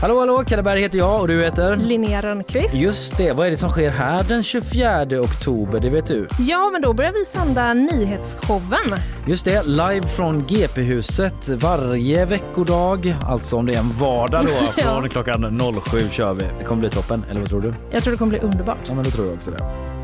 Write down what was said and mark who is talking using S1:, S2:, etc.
S1: Hallå hallå, Kalle Berg heter jag och du heter?
S2: Linnea Rönnqvist.
S1: Just det, vad är det som sker här den 24 oktober? Det vet du?
S2: Ja, men då börjar vi sända nyhetsshowen.
S1: Just det, live från GP-huset varje veckodag. Alltså om det är en vardag då,
S2: Ja.
S1: från klockan 07 kör vi. Det kommer bli toppen, eller vad tror du?
S2: Jag tror det kommer bli underbart.
S1: Ja, men då tror jag också det.